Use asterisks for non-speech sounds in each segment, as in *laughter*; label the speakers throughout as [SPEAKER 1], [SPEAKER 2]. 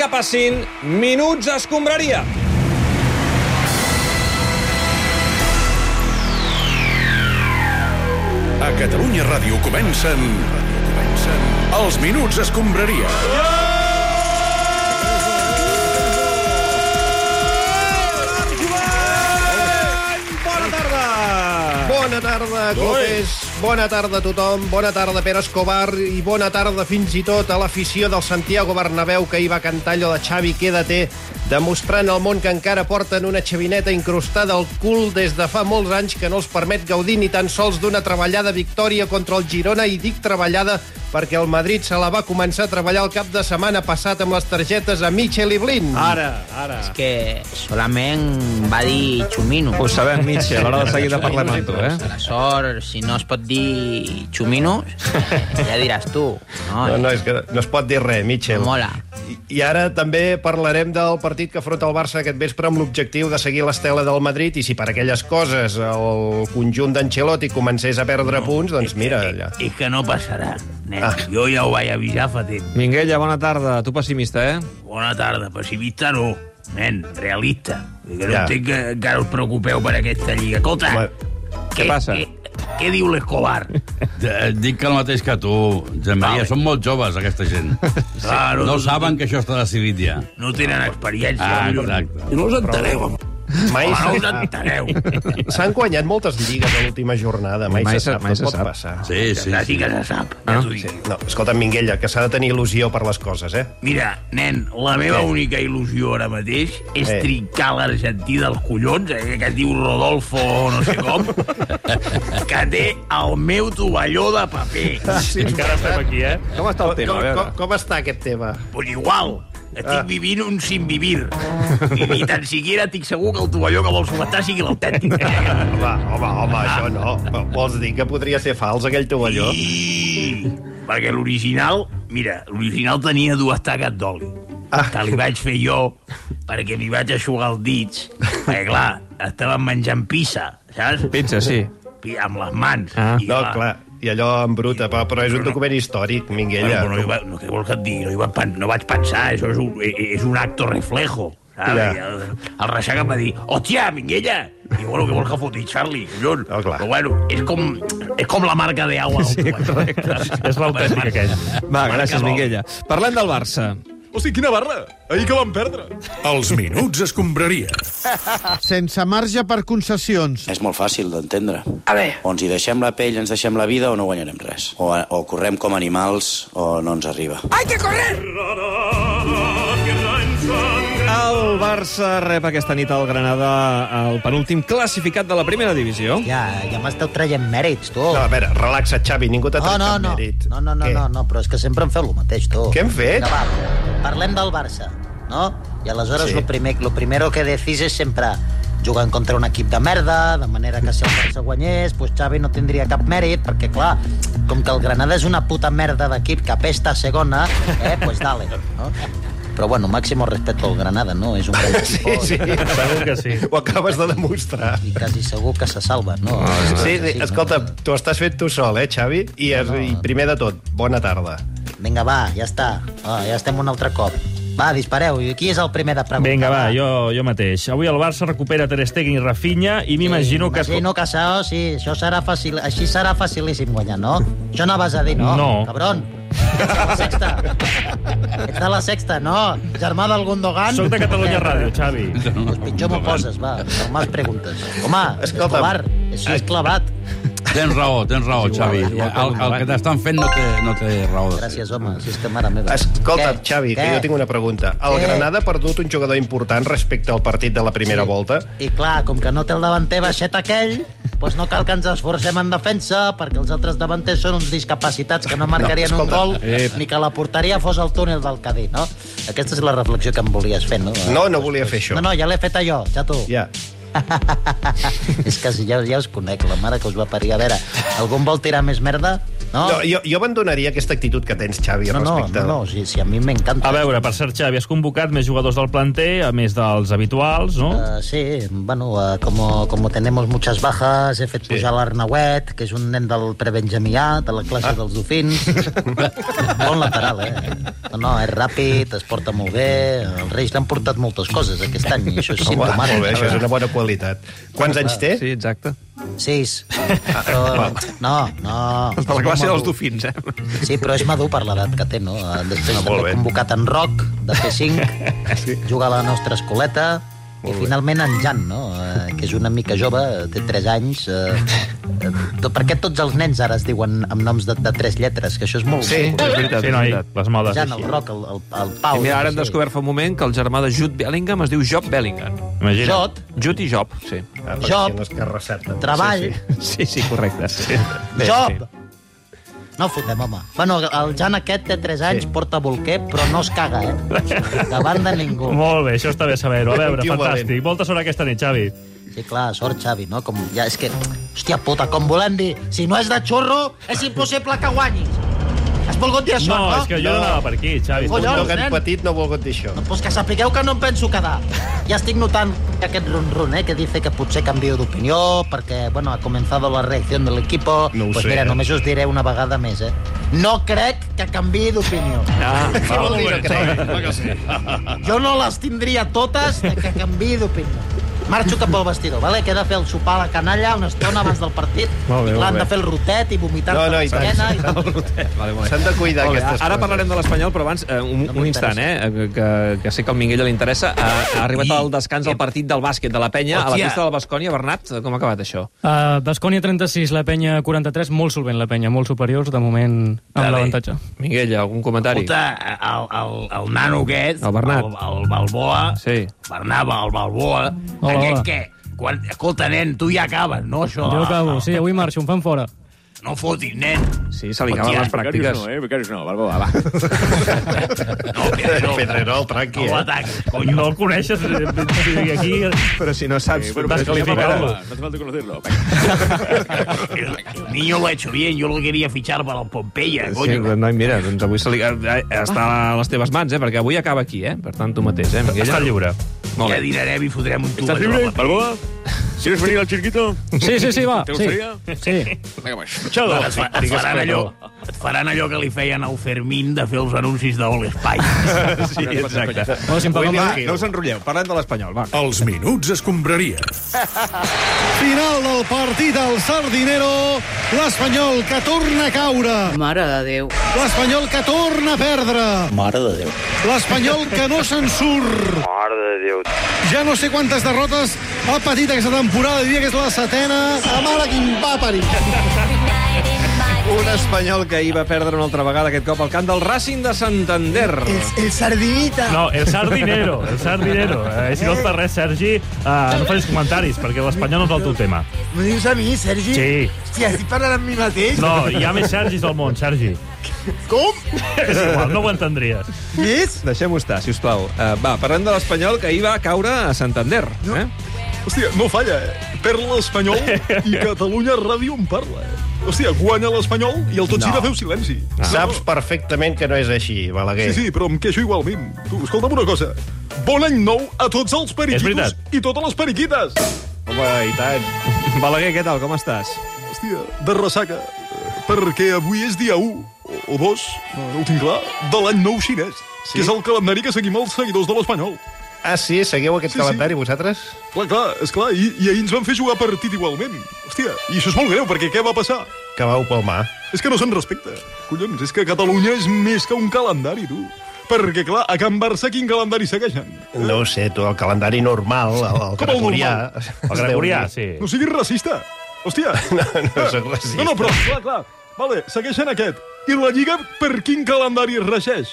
[SPEAKER 1] que passin minuts escombraria.
[SPEAKER 2] A Catalunya Ràdio comencen... comencen... Els Minuts Escombraria.
[SPEAKER 1] Bona tarda!
[SPEAKER 3] Bona tarda, Clopés. Bona tarda a tothom. Bona tarda, Pere Escobar. I bona tarda fins i tot a l'afició del Santiago Bernabéu que hi va cantar allò de Xavi, quédate, demostrant al món que encara porten una xavineta incrustada al cul des de fa molts anys que no els permet gaudir ni tan sols d'una treballada victòria contra el Girona. I dic treballada perquè el Madrid se la va començar a treballar el cap de setmana passat amb les targetes a Michel i Blin.
[SPEAKER 1] Ara, ara.
[SPEAKER 4] que solament va dir xumino.
[SPEAKER 1] Ho sabem, Mitxell, a l'hora de seguir de parlar amb tu, eh?
[SPEAKER 4] Aleshores, si no es pot dir xumino, ja diràs tu.
[SPEAKER 5] Ah,
[SPEAKER 4] No,
[SPEAKER 3] No, no, és que no es pot dir res, Mitchell.
[SPEAKER 4] No mola.
[SPEAKER 3] I, I ara també parlarem del partit que afronta el Barça aquest vespre amb l'objectiu de seguir l'estela del Madrid i si per aquelles coses el conjunt d'Ancelotti comencés a perdre punts, doncs mira, allà.
[SPEAKER 5] És que no passarà, nen. Ah. Jo ja ho vaig avisar fa temps.
[SPEAKER 1] Minguella, bona tarda. Tu pessimista, eh?
[SPEAKER 5] Bona tarda, pessimista no. Nen, realista. Que
[SPEAKER 1] Ah,
[SPEAKER 5] no
[SPEAKER 3] Ja.
[SPEAKER 5] ja. entenc que encara us preocupeu per aquesta lliga. Escolta,
[SPEAKER 3] Home,
[SPEAKER 1] què passa?
[SPEAKER 5] Què, què diu
[SPEAKER 6] *laughs*
[SPEAKER 5] l'Escobar?
[SPEAKER 6] Eh, Dic que el mateix que tu, Josep Maria.
[SPEAKER 5] Vale.
[SPEAKER 6] Són molt joves, aquesta gent.
[SPEAKER 5] Claro,
[SPEAKER 6] No saben que això està decidit ja.
[SPEAKER 5] No tenen experiència.
[SPEAKER 6] Ah,
[SPEAKER 5] collons.
[SPEAKER 6] exacte.
[SPEAKER 5] No us entereu, home.
[SPEAKER 3] Mai
[SPEAKER 5] Home, no us
[SPEAKER 3] s'ha-
[SPEAKER 5] entereu.
[SPEAKER 3] s'han guanyat moltes lligues a l'última jornada, mai,
[SPEAKER 1] Mai
[SPEAKER 3] mai
[SPEAKER 1] se-
[SPEAKER 3] se sap,
[SPEAKER 1] mai
[SPEAKER 3] mai
[SPEAKER 1] se
[SPEAKER 3] pot
[SPEAKER 1] sap.
[SPEAKER 3] passar.
[SPEAKER 6] Sí, sí,
[SPEAKER 5] Ja
[SPEAKER 6] sí. Ah,
[SPEAKER 5] sí que se sap, ja t'ho dic.
[SPEAKER 3] No, escolta, Minguella, que s'ha de tenir il·lusió per les coses, eh?
[SPEAKER 5] Mira, nen, la meva única il·lusió ara mateix és
[SPEAKER 3] Eh.
[SPEAKER 5] trincar l'argentí dels collons, eh, que es diu Rodolfo o no sé com, que té el meu tovalló de paper.
[SPEAKER 3] Encara estem aquí, eh?
[SPEAKER 1] Com està el tema? A
[SPEAKER 3] Com,
[SPEAKER 1] veure.
[SPEAKER 3] com, com està aquest tema?
[SPEAKER 5] Pues igual, estic vivint un sin vivir. I ni tan siquiera estic segur que el tovalló que vols matar sigui l'autèntic.
[SPEAKER 3] Home, home, home, això no. Vols dir que podria ser fals, aquell tovalló?
[SPEAKER 5] I... Perquè l'original, mira, l'original tenia dues taques d'oli.
[SPEAKER 3] Ah.
[SPEAKER 5] Ah. Que li vaig fer jo perquè m'hi vaig aixugar els dits. Perquè, clar, estàvem menjant pizza, saps?
[SPEAKER 1] Pizza, sí.
[SPEAKER 5] Pi- amb les mans.
[SPEAKER 1] Ah.
[SPEAKER 5] I,
[SPEAKER 3] No, clar, i allò en bruta, però, però és un document històric,
[SPEAKER 5] Bueno,
[SPEAKER 3] Minguella.
[SPEAKER 5] però no, hi va, no, què vols que et digui? No, hi va, pen- no vaig pensar, això és un, eh, és un acto reflejo. Saps?
[SPEAKER 3] Ja.
[SPEAKER 5] I El, el Reixac em va dir, hòstia, Minguella! I bueno, què vols que foti, Charlie? Collons.
[SPEAKER 3] Ah, clar.
[SPEAKER 5] Però bueno, és com, és com la marca de agua. Sí, correcte. és l'autèntic aquell.
[SPEAKER 1] Va, gràcies, Minguella. Parlem del Barça.
[SPEAKER 2] Els Minuts Escombraria.
[SPEAKER 7] sense marge per concessions.
[SPEAKER 8] És molt fàcil d'entendre. A veure... O ens hi deixem la pell, ens deixem la vida o no guanyarem res. O, o correm com animals o no ens arriba.
[SPEAKER 1] El Barça rep aquesta nit al Granada el penúltim classificat de la primera divisió.
[SPEAKER 4] Ja, ja m'esteu traient mèrits, tu.
[SPEAKER 3] No, a veure, relaxa't, Xavi, ningú t'ha
[SPEAKER 4] No, Ah,
[SPEAKER 3] tret
[SPEAKER 4] no,
[SPEAKER 3] cap
[SPEAKER 4] no.
[SPEAKER 3] mèrit.
[SPEAKER 4] No, no, no,
[SPEAKER 3] Què?
[SPEAKER 4] no, no, però és que sempre em feu el mateix, tu.
[SPEAKER 3] Què hem fet?
[SPEAKER 4] Vinga, va, parlem del Barça, no? I aleshores
[SPEAKER 3] Sí.
[SPEAKER 4] sí. lo, primer, lo primero que decís és sempre jugant contra un equip de merda, de manera que si el Barça guanyés, pues Xavi no tindria cap mèrit, perquè, clar, com que el Granada és una puta merda d'equip que apesta a segona, eh, pues dale, no? Però, bueno, màximo respeto al Granada, no?
[SPEAKER 3] *laughs*
[SPEAKER 4] És un gran equip
[SPEAKER 3] *laughs* Sí,
[SPEAKER 1] Segur que sí.
[SPEAKER 3] *laughs* ho acabes de demostrar.
[SPEAKER 4] i quasi segur que se salva, no?
[SPEAKER 3] Ah, Sí, sí,
[SPEAKER 4] no?
[SPEAKER 3] escolta, t'ho estàs fent tu sol, eh, Xavi? I, es, I primer de tot, bona tarda.
[SPEAKER 4] Vinga, va, ja està. Ah, ja estem un altre cop. Va, dispareu. I qui és el primer de preguntar?
[SPEAKER 9] Vinga, va, jo, jo mateix. Avui el Barça recupera Ter Stegen i Rafinha i m'imagino que...
[SPEAKER 4] Imagino que això, sí, això serà fàcil, així serà facilíssim guanyar, no? Això no vas a dir, no?
[SPEAKER 9] No.
[SPEAKER 4] Cabron. Ets de la sexta. Ets de la sexta, no? Germà del Gundogan.
[SPEAKER 9] Soc de Catalunya Ràdio, Xavi.
[SPEAKER 4] Pues pitjor m'ho poses, va. No m'has preguntes. Home,
[SPEAKER 3] Escolta'm.
[SPEAKER 4] Escolta, Escobar, això és clavat.
[SPEAKER 6] Tens raó, tens raó, Xavi. El, el que t'estan fent no té, no té raó. de ser.
[SPEAKER 4] Gràcies, home, si és que mare meva.
[SPEAKER 3] Escolta,
[SPEAKER 4] Què?
[SPEAKER 3] Xavi, que
[SPEAKER 4] Què?
[SPEAKER 3] jo tinc una pregunta. El
[SPEAKER 4] Què?
[SPEAKER 3] Granada ha perdut un jugador important respecte al partit de la primera
[SPEAKER 4] Sí.
[SPEAKER 3] volta?
[SPEAKER 4] I clar, com que no té el davanter baixet aquell, doncs no cal que ens esforcem en defensa, perquè els altres davanters són uns discapacitats que no marcarien
[SPEAKER 3] No,
[SPEAKER 4] no, un
[SPEAKER 3] escolta,
[SPEAKER 4] gol, eh... ni que la porteria fos el túnel del Cadí, no? Aquesta és la reflexió que em volies fer, no?
[SPEAKER 3] No, no volia fer això.
[SPEAKER 4] No, no, ja l'he fet jo, ja tu.
[SPEAKER 3] Ja.
[SPEAKER 4] És que si ja, ja us conec, la mare que us va parir. A veure, algú em vol tirar més merda? No,
[SPEAKER 3] No, jo, jo abandonaria aquesta actitud que tens, Xavi,
[SPEAKER 4] no,
[SPEAKER 3] al
[SPEAKER 4] no,
[SPEAKER 3] respecte.
[SPEAKER 4] no, no si, si a mi m'encanta.
[SPEAKER 9] A veure, per cert, Xavi, has convocat més jugadors del planter, a més dels habituals, no?
[SPEAKER 4] Eh, sí, bueno, eh, como, como tenemos muchas bajas, he fet pujar l'Arnauet, que és un nen del prebenjamià, de la
[SPEAKER 3] Ah.
[SPEAKER 4] classe dels
[SPEAKER 3] *laughs*
[SPEAKER 4] dofins. bon lateral, eh? No, no, és ràpid, es porta molt bé, els Reis l'han portat moltes coses aquest any, i això és
[SPEAKER 3] Home,
[SPEAKER 4] simptomàtic.
[SPEAKER 3] molt bé, això és una bona qualitat. Quants anys té?
[SPEAKER 1] Sí, exacte.
[SPEAKER 4] Sis. Però, no, no.
[SPEAKER 1] De la classe dels dofins, eh?
[SPEAKER 4] Sí, però és madur per l'edat que té, no? Eh, Després ah,
[SPEAKER 3] molt
[SPEAKER 4] també
[SPEAKER 3] bé.
[SPEAKER 4] convocat en Roc,
[SPEAKER 1] *laughs*
[SPEAKER 4] de P5, sí. juga a la nostra escoleta, i finalment en Jan, no? Eh, que és una mica jove, eh, té 3 anys. Eh, eh, to- per què tots els nens ara es diuen amb noms de, de 3 lletres? Que això és molt...
[SPEAKER 1] Sí, és veritat, és
[SPEAKER 9] Sí, noi,
[SPEAKER 1] veritat.
[SPEAKER 9] les modes.
[SPEAKER 4] Jan, el Roc, el, el, el Pau...
[SPEAKER 1] I mira, ara
[SPEAKER 4] no
[SPEAKER 1] hem
[SPEAKER 4] sé.
[SPEAKER 1] descobert fa un moment que el germà de Jude Bellingham es diu Job Bellingham.
[SPEAKER 9] Imagina't.
[SPEAKER 4] Jot,
[SPEAKER 1] Jude i Job, sí.
[SPEAKER 3] Ah, perquè
[SPEAKER 4] Job.
[SPEAKER 3] si no és que recepta.
[SPEAKER 4] treball, sí,
[SPEAKER 1] Sí, sí, correcte. Sí.
[SPEAKER 4] sí. job... No fotem, home. Bueno, el Jan aquest té 3 anys, sí. porta bolquer, però no es caga,
[SPEAKER 9] *laughs*
[SPEAKER 4] eh? Davant de ningú.
[SPEAKER 9] Molt bé, això està bé saber-ho. A veure,
[SPEAKER 3] Tio
[SPEAKER 9] fantàstic. Molta sort aquesta nit, Xavi.
[SPEAKER 4] Sí, clar, sort, Xavi, no? Com, ja, és que, hòstia puta, com volem dir, si no és de xurro, és impossible que guanyis. Has volgut dir això,
[SPEAKER 9] No,
[SPEAKER 4] no?
[SPEAKER 9] és que jo no anava per aquí, Xavi.
[SPEAKER 4] Collons,
[SPEAKER 3] Un
[SPEAKER 4] nen.
[SPEAKER 3] tocat petit no ha volgut dir això.
[SPEAKER 4] Pues que sapigueu que no em penso quedar. Ja estic notant aquest run-run, eh, que dice que potser canvio d'opinió, perquè, bueno, ha comenzado la reacció del equipo.
[SPEAKER 3] No ho
[SPEAKER 4] pues
[SPEAKER 3] sé,
[SPEAKER 4] mira,
[SPEAKER 3] eh.
[SPEAKER 4] només us diré una vegada més, eh. No crec que canviï d'opinió.
[SPEAKER 1] Ah,
[SPEAKER 3] Què vol dir, no crec?
[SPEAKER 4] Jo no les tindria totes de que canviï d'opinió. Marxo cap al vestidor, vale? que he de fer el sopar a la canalla una estona abans del partit.
[SPEAKER 1] Molt bé,
[SPEAKER 4] I clar,
[SPEAKER 1] molt
[SPEAKER 4] han de
[SPEAKER 1] bé.
[SPEAKER 4] fer el rotet i vomitar
[SPEAKER 3] No, no, i tant. *laughs*
[SPEAKER 4] l'esquena. I... tot.
[SPEAKER 1] vale, molt bé.
[SPEAKER 3] S'han de cuidar
[SPEAKER 1] Molt bé,
[SPEAKER 3] aquestes
[SPEAKER 1] Ara
[SPEAKER 3] coses.
[SPEAKER 1] parlarem de l'Espanyol, però abans, eh, un,
[SPEAKER 4] No
[SPEAKER 1] un instant, eh, que, que sé que al Minguella li interessa. Ha, ha arribat al descans el partit del bàsquet de la penya a la
[SPEAKER 5] Hòstia.
[SPEAKER 1] pista del Bascònia. Bernat, com ha acabat això?
[SPEAKER 10] Uh, Bascònia 36, la penya 43, molt solvent la penya, molt superiors, de moment amb
[SPEAKER 5] Està bé.
[SPEAKER 10] l'avantatge.
[SPEAKER 1] Minguella, algun comentari?
[SPEAKER 5] Escolta, el, el, el nano aquest,
[SPEAKER 1] El Bernat.
[SPEAKER 5] el, el Balboa,
[SPEAKER 1] Sí.
[SPEAKER 5] Bernat, el Balboa,
[SPEAKER 10] Hola, hola.
[SPEAKER 5] aquest què? Quan, escolta, nen, tu ja acabes, no, això?
[SPEAKER 10] Jo acabo, sí, avui marxo, em fan fora.
[SPEAKER 5] No fotis, nen.
[SPEAKER 1] Sí, se li acaben
[SPEAKER 5] Hòstia,
[SPEAKER 1] les pràctiques.
[SPEAKER 2] eh? Becarius no, Balboa, va.
[SPEAKER 5] No, Pedrerol.
[SPEAKER 3] Pedrerol,
[SPEAKER 5] No
[SPEAKER 3] tranqui, eh?
[SPEAKER 5] l'ataquis,
[SPEAKER 9] Cony,
[SPEAKER 5] conyo.
[SPEAKER 9] no el coneixes. eh, eh, Aquí
[SPEAKER 1] Però si no saps...
[SPEAKER 9] descalificar-lo.
[SPEAKER 2] No hace falta conocerlo.
[SPEAKER 5] El el niño lo ha hecho bien, yo lo quería fichar para el Pompeya,
[SPEAKER 1] Sí,
[SPEAKER 5] coño.
[SPEAKER 1] noi, mira, doncs avui se li... eh, està a les teves mans, eh? Perquè avui acaba aquí, eh? Per tant, tu mateix, eh, Minguella?
[SPEAKER 9] Està lliure.
[SPEAKER 1] Molt
[SPEAKER 5] Ja
[SPEAKER 1] bé.
[SPEAKER 5] dinarem i fotrem un
[SPEAKER 2] ¿Estás
[SPEAKER 5] tuballó.
[SPEAKER 2] libre, Balboa? ¿Quieres venir al chiquito?
[SPEAKER 10] Sí, sí, sí, va.
[SPEAKER 2] ¿Te
[SPEAKER 10] Sí,
[SPEAKER 2] gustaría?
[SPEAKER 10] sí.
[SPEAKER 2] Venga, pues.
[SPEAKER 5] Xado, et, fa, et, faran allò, et faran allò que li feien al Fermín de fer els anuncis de l'Espai.
[SPEAKER 1] Sí, exacte.
[SPEAKER 10] Bueno, si em paguen
[SPEAKER 1] Va,
[SPEAKER 10] va.
[SPEAKER 1] no us enrotlleu. Parlem de l'Espanyol, va.
[SPEAKER 2] Els minuts escombraria.
[SPEAKER 7] Final del partit al Sardinero. L'Espanyol que torna a caure.
[SPEAKER 11] Mare de Déu.
[SPEAKER 7] L'Espanyol que torna a perdre.
[SPEAKER 8] Mare de Déu.
[SPEAKER 7] L'Espanyol que no se'n surt. Mare de Déu. Ja no sé quantes derrotes ha patit aquesta temporada. Diria que és la setena. La mare que va parir.
[SPEAKER 1] Un espanyol que ahir va perdre una altra vegada, aquest cop al camp del Racing de Santander.
[SPEAKER 11] El sardinita.
[SPEAKER 9] No, el sardinero, el sardinero. Eh, si no et fa res, Sergi, eh, no facis comentaris, perquè l'espanyol no és el teu tema.
[SPEAKER 11] M'ho dius a mi, Sergi?
[SPEAKER 9] Sí.
[SPEAKER 11] Hòstia, estic parlant amb mi mateix.
[SPEAKER 9] No, hi ha més Sergis del món, Sergi.
[SPEAKER 11] Com?
[SPEAKER 9] És igual, no ho entendries.
[SPEAKER 11] Més?
[SPEAKER 1] Deixem-ho estar, si us plau. Uh, va, parlem de l'Espanyol, que ahir va caure a Santander. No. Eh?
[SPEAKER 2] Hòstia, no falla, eh? Perd l'Espanyol i Catalunya Ràdio en parla. eh? Hòstia, guanya l'Espanyol i el tot gira no. feu silenci.
[SPEAKER 3] Saps perfectament que no és així, Balaguer.
[SPEAKER 2] Sí, sí, però em queixo igualment. Tu, escolta'm una cosa. Bon any nou a tots els
[SPEAKER 9] És
[SPEAKER 2] periquitos
[SPEAKER 9] veritat.
[SPEAKER 2] i totes les periquites.
[SPEAKER 1] Home, i tant. Balaguer, què tal, com estàs?
[SPEAKER 2] Hòstia, de ressaca. Perquè avui és dia 1, o- o 2, no ho tinc clar, de l'any nou xinès, sí? que és el calendari que seguim els seguidors de l'Espanyol.
[SPEAKER 3] Ah, sí? Seguiu aquest
[SPEAKER 2] Sí,
[SPEAKER 3] sí,
[SPEAKER 2] sí.
[SPEAKER 3] calendari, vosaltres?
[SPEAKER 2] Clar, clar, és clar, i, i ahir ens van fer jugar partit igualment. Hòstia, i això és molt greu, perquè què va passar?
[SPEAKER 3] Que vau palmar.
[SPEAKER 2] És que no se'n respecta. Collons, és que Catalunya és més que un calendari, tu. Perquè, clar, a Can Barça quin calendari segueixen?
[SPEAKER 3] No ho sé, tu, el calendari normal, el, el
[SPEAKER 2] Com el
[SPEAKER 3] gregorià.
[SPEAKER 2] normal?
[SPEAKER 9] El gregorià, sí.
[SPEAKER 2] No siguis racista. Hòstia. No,
[SPEAKER 3] *laughs* no sóc racista.
[SPEAKER 2] No, no, però, clar, clar. Vale, segueixen aquest. I la Lliga per quin calendari es regeix?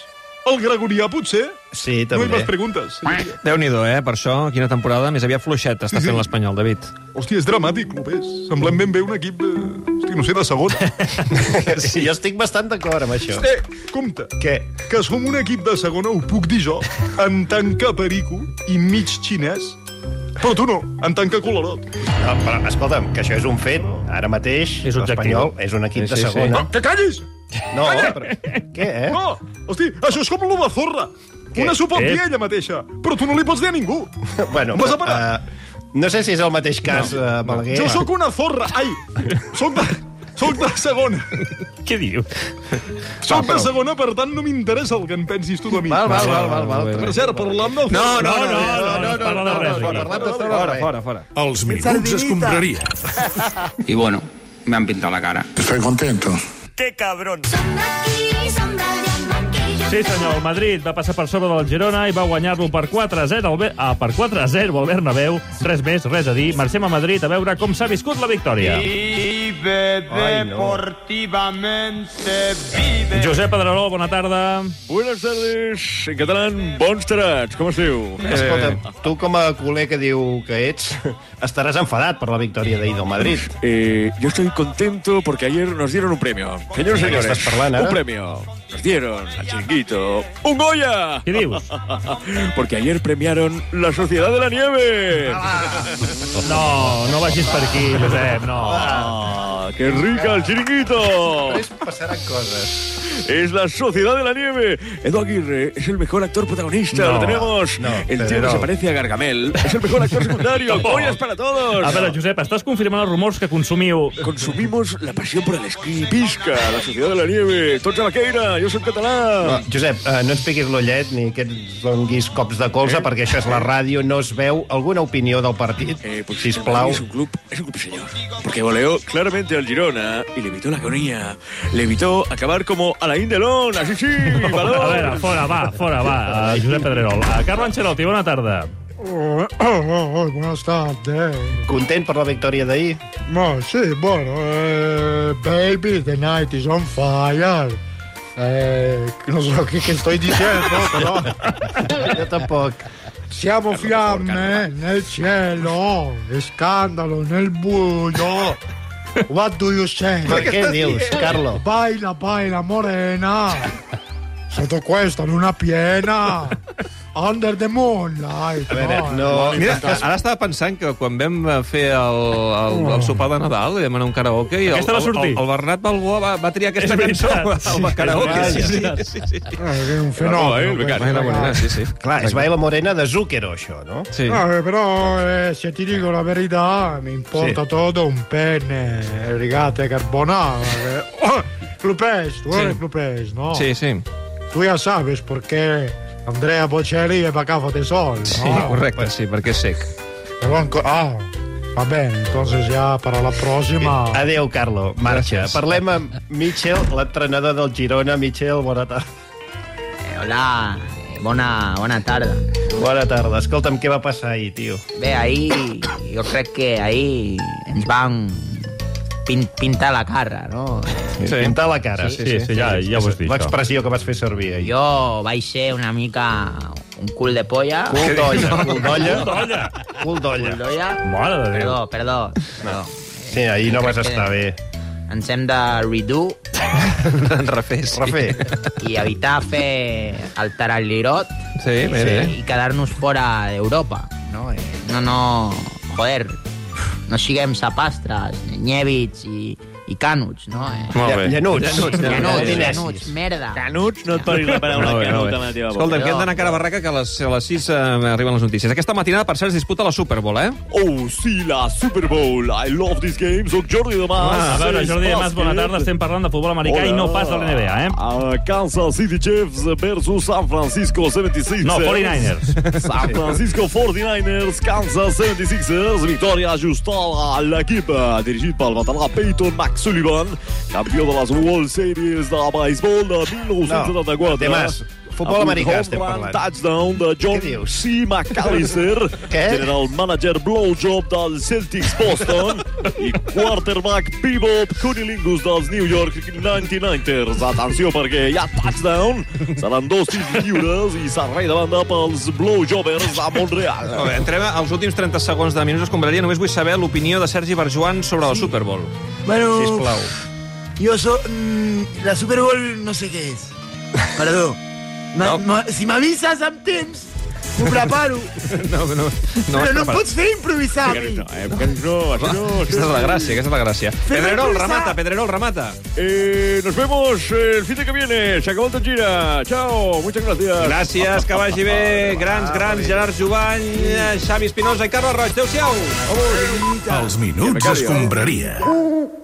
[SPEAKER 2] El gregorià, potser?
[SPEAKER 3] Sí,
[SPEAKER 2] No hi
[SPEAKER 3] també.
[SPEAKER 2] més preguntes.
[SPEAKER 1] Déu-n'hi-do, eh? Per això, quina temporada més aviat fluixet està fent l'Espanyol, David.
[SPEAKER 2] Hòstia, és dramàtic, Lopés. Semblem ben bé un equip, eh, hòstia, no sé, de
[SPEAKER 3] *laughs*
[SPEAKER 2] segona.
[SPEAKER 3] Sí, jo estic bastant d'acord amb això.
[SPEAKER 2] Eh, compte,
[SPEAKER 3] Què?
[SPEAKER 2] que som un equip de segona, ho puc dir jo, en tant que perico i mig xinès, Però tu no, en tant que colorot.
[SPEAKER 3] No, Ah, però, escolta'm, que això és un fet. Ara mateix
[SPEAKER 2] És objectiu.
[SPEAKER 3] l'Espanyol és un equip
[SPEAKER 2] Sí,
[SPEAKER 3] de
[SPEAKER 2] sí, sí.
[SPEAKER 3] segona.
[SPEAKER 2] Que callis!
[SPEAKER 3] No,
[SPEAKER 2] Calla!
[SPEAKER 3] però... Què, eh?
[SPEAKER 2] No, hosti, això és com lo de zorra.
[SPEAKER 3] Què?
[SPEAKER 2] Una s'ho pot
[SPEAKER 3] Ep.
[SPEAKER 2] dir ella mateixa, però tu no li pots dir a ningú.
[SPEAKER 3] Bueno,
[SPEAKER 2] Vas a parar.
[SPEAKER 3] eh, no sé si és el mateix cas, no. eh, Balaguer.
[SPEAKER 2] Jo sóc una zorra, ai, sóc de, sóc de segona.
[SPEAKER 9] Què diu?
[SPEAKER 2] Sóc
[SPEAKER 3] Ah, però-
[SPEAKER 2] de segona, per tant, no m'interessa el que en pensis tu de mi.
[SPEAKER 3] Val, val, val, val, val.
[SPEAKER 2] Per cert, parlant del...
[SPEAKER 1] No, no, no, no,
[SPEAKER 2] no, no, no, no, no, no, no,
[SPEAKER 1] Fora,
[SPEAKER 3] eh,
[SPEAKER 1] fora, fora.
[SPEAKER 12] Els
[SPEAKER 1] minuts escombraria.
[SPEAKER 12] Y bueno, me han pintado la cara. Estoy contento.
[SPEAKER 5] Que cabrón.
[SPEAKER 9] Sí, senyor, el Madrid va passar per sobre del Girona i va guanyar-lo per 4 a 0 al Be ah, per 4 a 0 al Bernabéu. Res més, res a dir. Marxem a Madrid a veure com s'ha viscut la victòria.
[SPEAKER 13] Vive deportivamente, vive...
[SPEAKER 9] Josep Pedrerol, bona tarda.
[SPEAKER 14] Buenas tardes, en català, bons tarats, com es diu?
[SPEAKER 2] eh,
[SPEAKER 3] Escolta'm, tu com a culer que diu que ets, estaràs enfadat per la victòria d'ahir del Madrid.
[SPEAKER 14] Eh, yo estoy contento porque ayer nos dieron un premio. Señores,
[SPEAKER 3] ¿De qué
[SPEAKER 14] señores,
[SPEAKER 3] estás parlando,
[SPEAKER 14] un
[SPEAKER 3] eh?
[SPEAKER 14] premio. Nos dieron al chiquito un Goya. ¿Qué dius? porque ayer premiaron la Sociedad de la Nieve.
[SPEAKER 9] No, no vagis per aquí, Josep, no.
[SPEAKER 14] Ah, ¡Qué rica el chiringuito!
[SPEAKER 3] Passaran coses.
[SPEAKER 14] Es la Sociedad de la Nieve. Edu Aguirre es el mejor actor protagonista.
[SPEAKER 9] No,
[SPEAKER 14] Lo tenemos.
[SPEAKER 9] no,
[SPEAKER 14] el tío
[SPEAKER 9] Pedro.
[SPEAKER 14] que se parece a Gargamel es el mejor actor
[SPEAKER 9] *laughs*
[SPEAKER 14] secundario. ¡Goyas para todos!
[SPEAKER 9] A veure, Josep, estàs confirmant els rumors que consumiu...
[SPEAKER 14] Consumimos la passió per l'esquí, pisca, la Sociedad de la Nieve, tots a la queira, jo sóc
[SPEAKER 3] No,
[SPEAKER 14] català.
[SPEAKER 3] Josep, eh, no ens piquis l'ullet ni que ens donguis cops de
[SPEAKER 2] Eh?
[SPEAKER 3] colze, perquè això és la ràdio, no es veu. Alguna opinió del partit, eh, sisplau?
[SPEAKER 14] És pues un club, és un club senyor. Porque goleó claramente al Girona y le evitó la agonía. Le evitó acabar como Alain Delon, así
[SPEAKER 9] *laughs*
[SPEAKER 14] sí, balón.
[SPEAKER 9] A veure, fora, va, fora, va. Uh, Josep Pedrerol. Uh, Carlo Ancelotti, bona tarda.
[SPEAKER 15] Oh, oh, oh, buenas tardes.
[SPEAKER 3] Content per la victòria d'ahir?
[SPEAKER 15] No, sí, bueno, eh, baby, the night is on fire. Eh, no so qué, qué estoy diciendo, pero...
[SPEAKER 3] Yo tampoco.
[SPEAKER 15] Siamo fiamme nel cielo, scandalo nel buio.
[SPEAKER 3] *laughs*
[SPEAKER 15] What do you say?
[SPEAKER 3] Ma che dius, Carlo?
[SPEAKER 15] Baila, baila, morena. Sotto questa luna piena.
[SPEAKER 3] *laughs*
[SPEAKER 15] Under the moonlight. Oh, eh.
[SPEAKER 1] Mira, ara estava pensant que quan vam eh, fer el, el, el sopar de Nadal i demanar un karaoke i el,
[SPEAKER 9] Aquesta va
[SPEAKER 1] el,
[SPEAKER 9] sortir.
[SPEAKER 1] el Bernat Balboa va, va triar aquesta
[SPEAKER 9] És
[SPEAKER 1] cançó
[SPEAKER 9] veritat, sí,
[SPEAKER 1] al
[SPEAKER 9] és
[SPEAKER 1] karaoke.
[SPEAKER 9] veritat.
[SPEAKER 1] Sí, sí, sí, sí.
[SPEAKER 15] Eh, un fenomeno.
[SPEAKER 1] eh, el becari. Baila morena, sí, Oh. sí.
[SPEAKER 3] Clar, és Baila Morena de Zucchero, això, no?
[SPEAKER 1] Sí.
[SPEAKER 15] No, eh, però eh, se ti dico la verità, mi importa
[SPEAKER 3] Sì.
[SPEAKER 15] tutto un penne, rigate carbonara.
[SPEAKER 3] *laughs*
[SPEAKER 15] eh. Oh, Clupes, tu eres Clupes, no?
[SPEAKER 1] Sí, sí.
[SPEAKER 15] Tu ja sabes perché Andrea Bocelli è pagato tesoro,
[SPEAKER 1] Sí,
[SPEAKER 15] no?
[SPEAKER 1] correcte, sí, perquè és sec.
[SPEAKER 15] Però ancora- Ah, va bene, entonces ja per a la
[SPEAKER 3] Oh.
[SPEAKER 15] pròxima...
[SPEAKER 3] Adéu, Carlo. Marxa.
[SPEAKER 15] Gràcies.
[SPEAKER 3] Parlem amb Mitchell, l'entrenador del Girona. Mitchell, bona tarda.
[SPEAKER 16] Eh, Hola, bona, bona tarda.
[SPEAKER 3] Bona tarda. Escolta'm, què va passar ahir, tio?
[SPEAKER 16] Bé, ahir jo crec que ahir ens van pin, pintar la cara, no?
[SPEAKER 3] Sí. Pintar la cara.
[SPEAKER 16] Sí, sí, sí, ja- ja ho has dit,
[SPEAKER 3] L'expressió que vas fer servir ahir.
[SPEAKER 16] Jo vaig ser una mica un cul de polla. *laughs*
[SPEAKER 3] Cul d'olla, cul d'olla.
[SPEAKER 16] Cul d'olla. Cul d'olla.
[SPEAKER 3] Mare de Déu.
[SPEAKER 16] Perdó, perdó. perdó.
[SPEAKER 3] Sí, ahir no
[SPEAKER 16] Crec
[SPEAKER 3] vas
[SPEAKER 16] que
[SPEAKER 3] estar bé.
[SPEAKER 16] Ens hem de redo.
[SPEAKER 1] *laughs* Refer, sí.
[SPEAKER 16] *laughs*
[SPEAKER 3] Refer.
[SPEAKER 16] I evitar fer el tarallirot.
[SPEAKER 1] Sí, bé, bé.
[SPEAKER 16] I quedar-nos fora d'Europa. No, Eh, no, no... Joder, no siguem sapastres, nyèvits i, i canuts, no? Eh?
[SPEAKER 1] Molt bé.
[SPEAKER 16] Llanuts.
[SPEAKER 1] Llanuts,
[SPEAKER 16] Llanuts,
[SPEAKER 1] llanuts.
[SPEAKER 16] llanuts, llanuts, merda. Canuts, no et
[SPEAKER 1] Molt bé, molt bé.
[SPEAKER 9] eh.
[SPEAKER 1] Escolta'm, que hem d'anar cara a barraca, que a les, a les 6 eh, arriben les notícies. Aquesta matinada, per cert, es disputa la Super Bowl, eh?
[SPEAKER 14] Oh, sí, la Super Bowl. I love this game. Soc Jordi de Mas.
[SPEAKER 9] Ah, a veure, Jordi de Mas, bona
[SPEAKER 14] Bàsquet.
[SPEAKER 9] tarda. Estem parlant de futbol americà i no pas de l'NBA, eh?
[SPEAKER 14] A Kansas City Chiefs versus San Francisco 76ers.
[SPEAKER 9] No,
[SPEAKER 14] *laughs*
[SPEAKER 9] 49ers.
[SPEAKER 14] San Francisco 49ers, Kansas 76ers. Victòria ajustada a l'equip eh, dirigit pel veterà Peyton Max Sullivan, campió de les World Series de baseball de 1974.
[SPEAKER 3] No, de Mas, futbol
[SPEAKER 14] Amb un
[SPEAKER 3] americà
[SPEAKER 14] home
[SPEAKER 3] estem
[SPEAKER 14] run
[SPEAKER 3] parlant.
[SPEAKER 14] touchdown de John C. McAllister,
[SPEAKER 3] Què?
[SPEAKER 14] general manager blowjob del Celtics
[SPEAKER 3] *laughs*
[SPEAKER 14] Boston i quarterback pivot cunilingus dels New York 99ers. Atenció perquè hi ha touchdown, seran dos tirs lliures i servei de banda pels blowjobbers de Montreal.
[SPEAKER 1] Molt bé, entrem als últims 30 segons de Minuts Escombraria. Només vull saber l'opinió de Sergi Barjoan sobre la Super Bowl.
[SPEAKER 11] Bueno,
[SPEAKER 1] Sisplau.
[SPEAKER 11] Yo soy... la Super Bowl no sé qué es. Perdón. Ma- ma- si me avisas sometimes, Ho preparo.
[SPEAKER 1] No, no, no
[SPEAKER 11] però
[SPEAKER 1] has
[SPEAKER 11] no em
[SPEAKER 1] preparat.
[SPEAKER 11] pots fer improvisar a mi.
[SPEAKER 1] No, eh, no, no, aquesta és la gràcia, aquesta és la gràcia. Pedrerol, remata, Pedrerol, remata.
[SPEAKER 14] Eh, nos vemos el fin de que viene. Se acabó el Tangira. Chao, muchas gracias.
[SPEAKER 1] Gràcies, que vagi bé. Grans, grans, Gerard Jovany, Xavi Espinosa i Carles Roig. Adéu-siau.
[SPEAKER 17] Els minuts escombraria.